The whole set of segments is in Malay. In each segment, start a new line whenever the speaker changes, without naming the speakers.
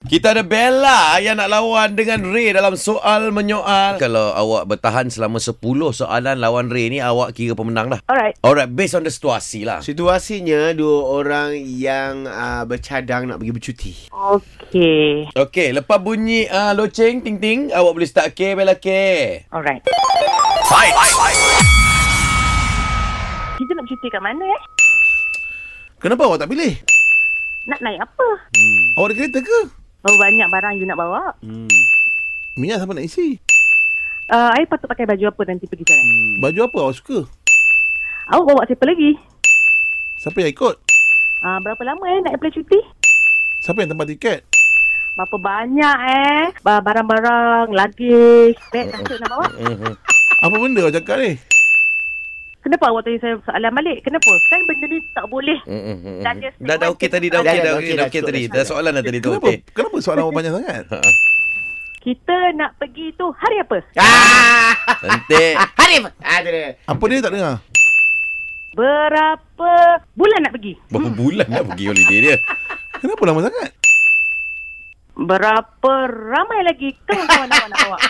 Kita ada Bella yang nak lawan dengan Ray dalam soal menyoal. Kalau awak bertahan selama 10 soalan lawan Ray ni, awak kira pemenang lah.
Alright.
Alright, based on the situasi lah.
Situasinya dua orang yang uh, bercadang nak pergi bercuti.
Okay.
Okay, lepas bunyi uh, loceng, ting-ting, awak boleh start ke, Bella ke.
Alright. Kita nak cuti kat mana eh?
Kenapa awak tak pilih?
Nak naik apa?
Hmm. Awak ada kereta ke? Hmm.
Berapa banyak barang you nak bawa?
Minyak siapa nak isi? Hmm.
Uh, I patut pakai baju apa nanti pergi sana?
Baju apa awak suka?
Awak bawa siapa lagi?
Siapa yang ikut?
Uh, berapa lama eh nak apply cuti?
Siapa yang tempat tiket?
Berapa banyak eh? Ba- Barang-barang, luggage, beg,
Eh,
kasut nak bawa?
Mm-hmm.
Apa benda awak cakap ni?
Kenapa awak tanya saya soalan balik? Kenapa? Kan benda ni tak boleh.
Mm,
Dah ada
Dah dah okey tadi, dah okey, dah okey,
Dah
ada, dah okey,
dah
dah
okey
cukup,
tadi.
dah
Dah soalan dah tadi tu eh. Ha,
Kenapa?
okey.
Kenapa soalan awak banyak sangat?
Kita nak pergi tu hari apa?
ah!
Nanti
Harif! Ah, tu dia. Apa dia tak dengar?
Berapa bulan nak pergi?
berapa bulan nak pergi holiday dia?
Kenapa lama sangat?
Berapa ramai lagi kawan-kawan awak nak bawa?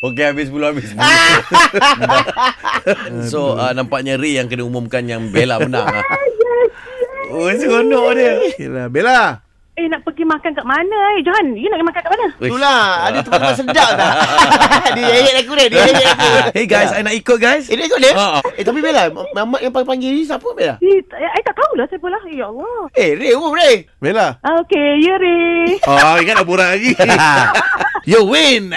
Okey, habis pula, habis pula. so, uh, nampaknya Ray yang kena umumkan yang Bella menang. ah. Oh, seronok dia.
Yelah, Bella.
Eh nak pergi makan kat mana eh? Johan, you nak makan kat mana?
Weh.
Ah,
Itulah, ada tempat-tempat sedap tak? dia yayat aku dah, dia yayat aku.
hey guys, I nak ikut guys.
Eh, dia ikut dia?
Ha.
Eh, tapi Bella, mamat yang panggil ni siapa Bella?
Eh, tak- eh, I tak tahulah siapa lah. Ya Allah.
Eh, Ray, oh Ray.
Bella.
Ah, Okay, ya Ray.
Oh, ingat nak borak lagi. you win.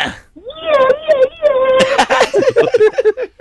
Ya, ya, ya.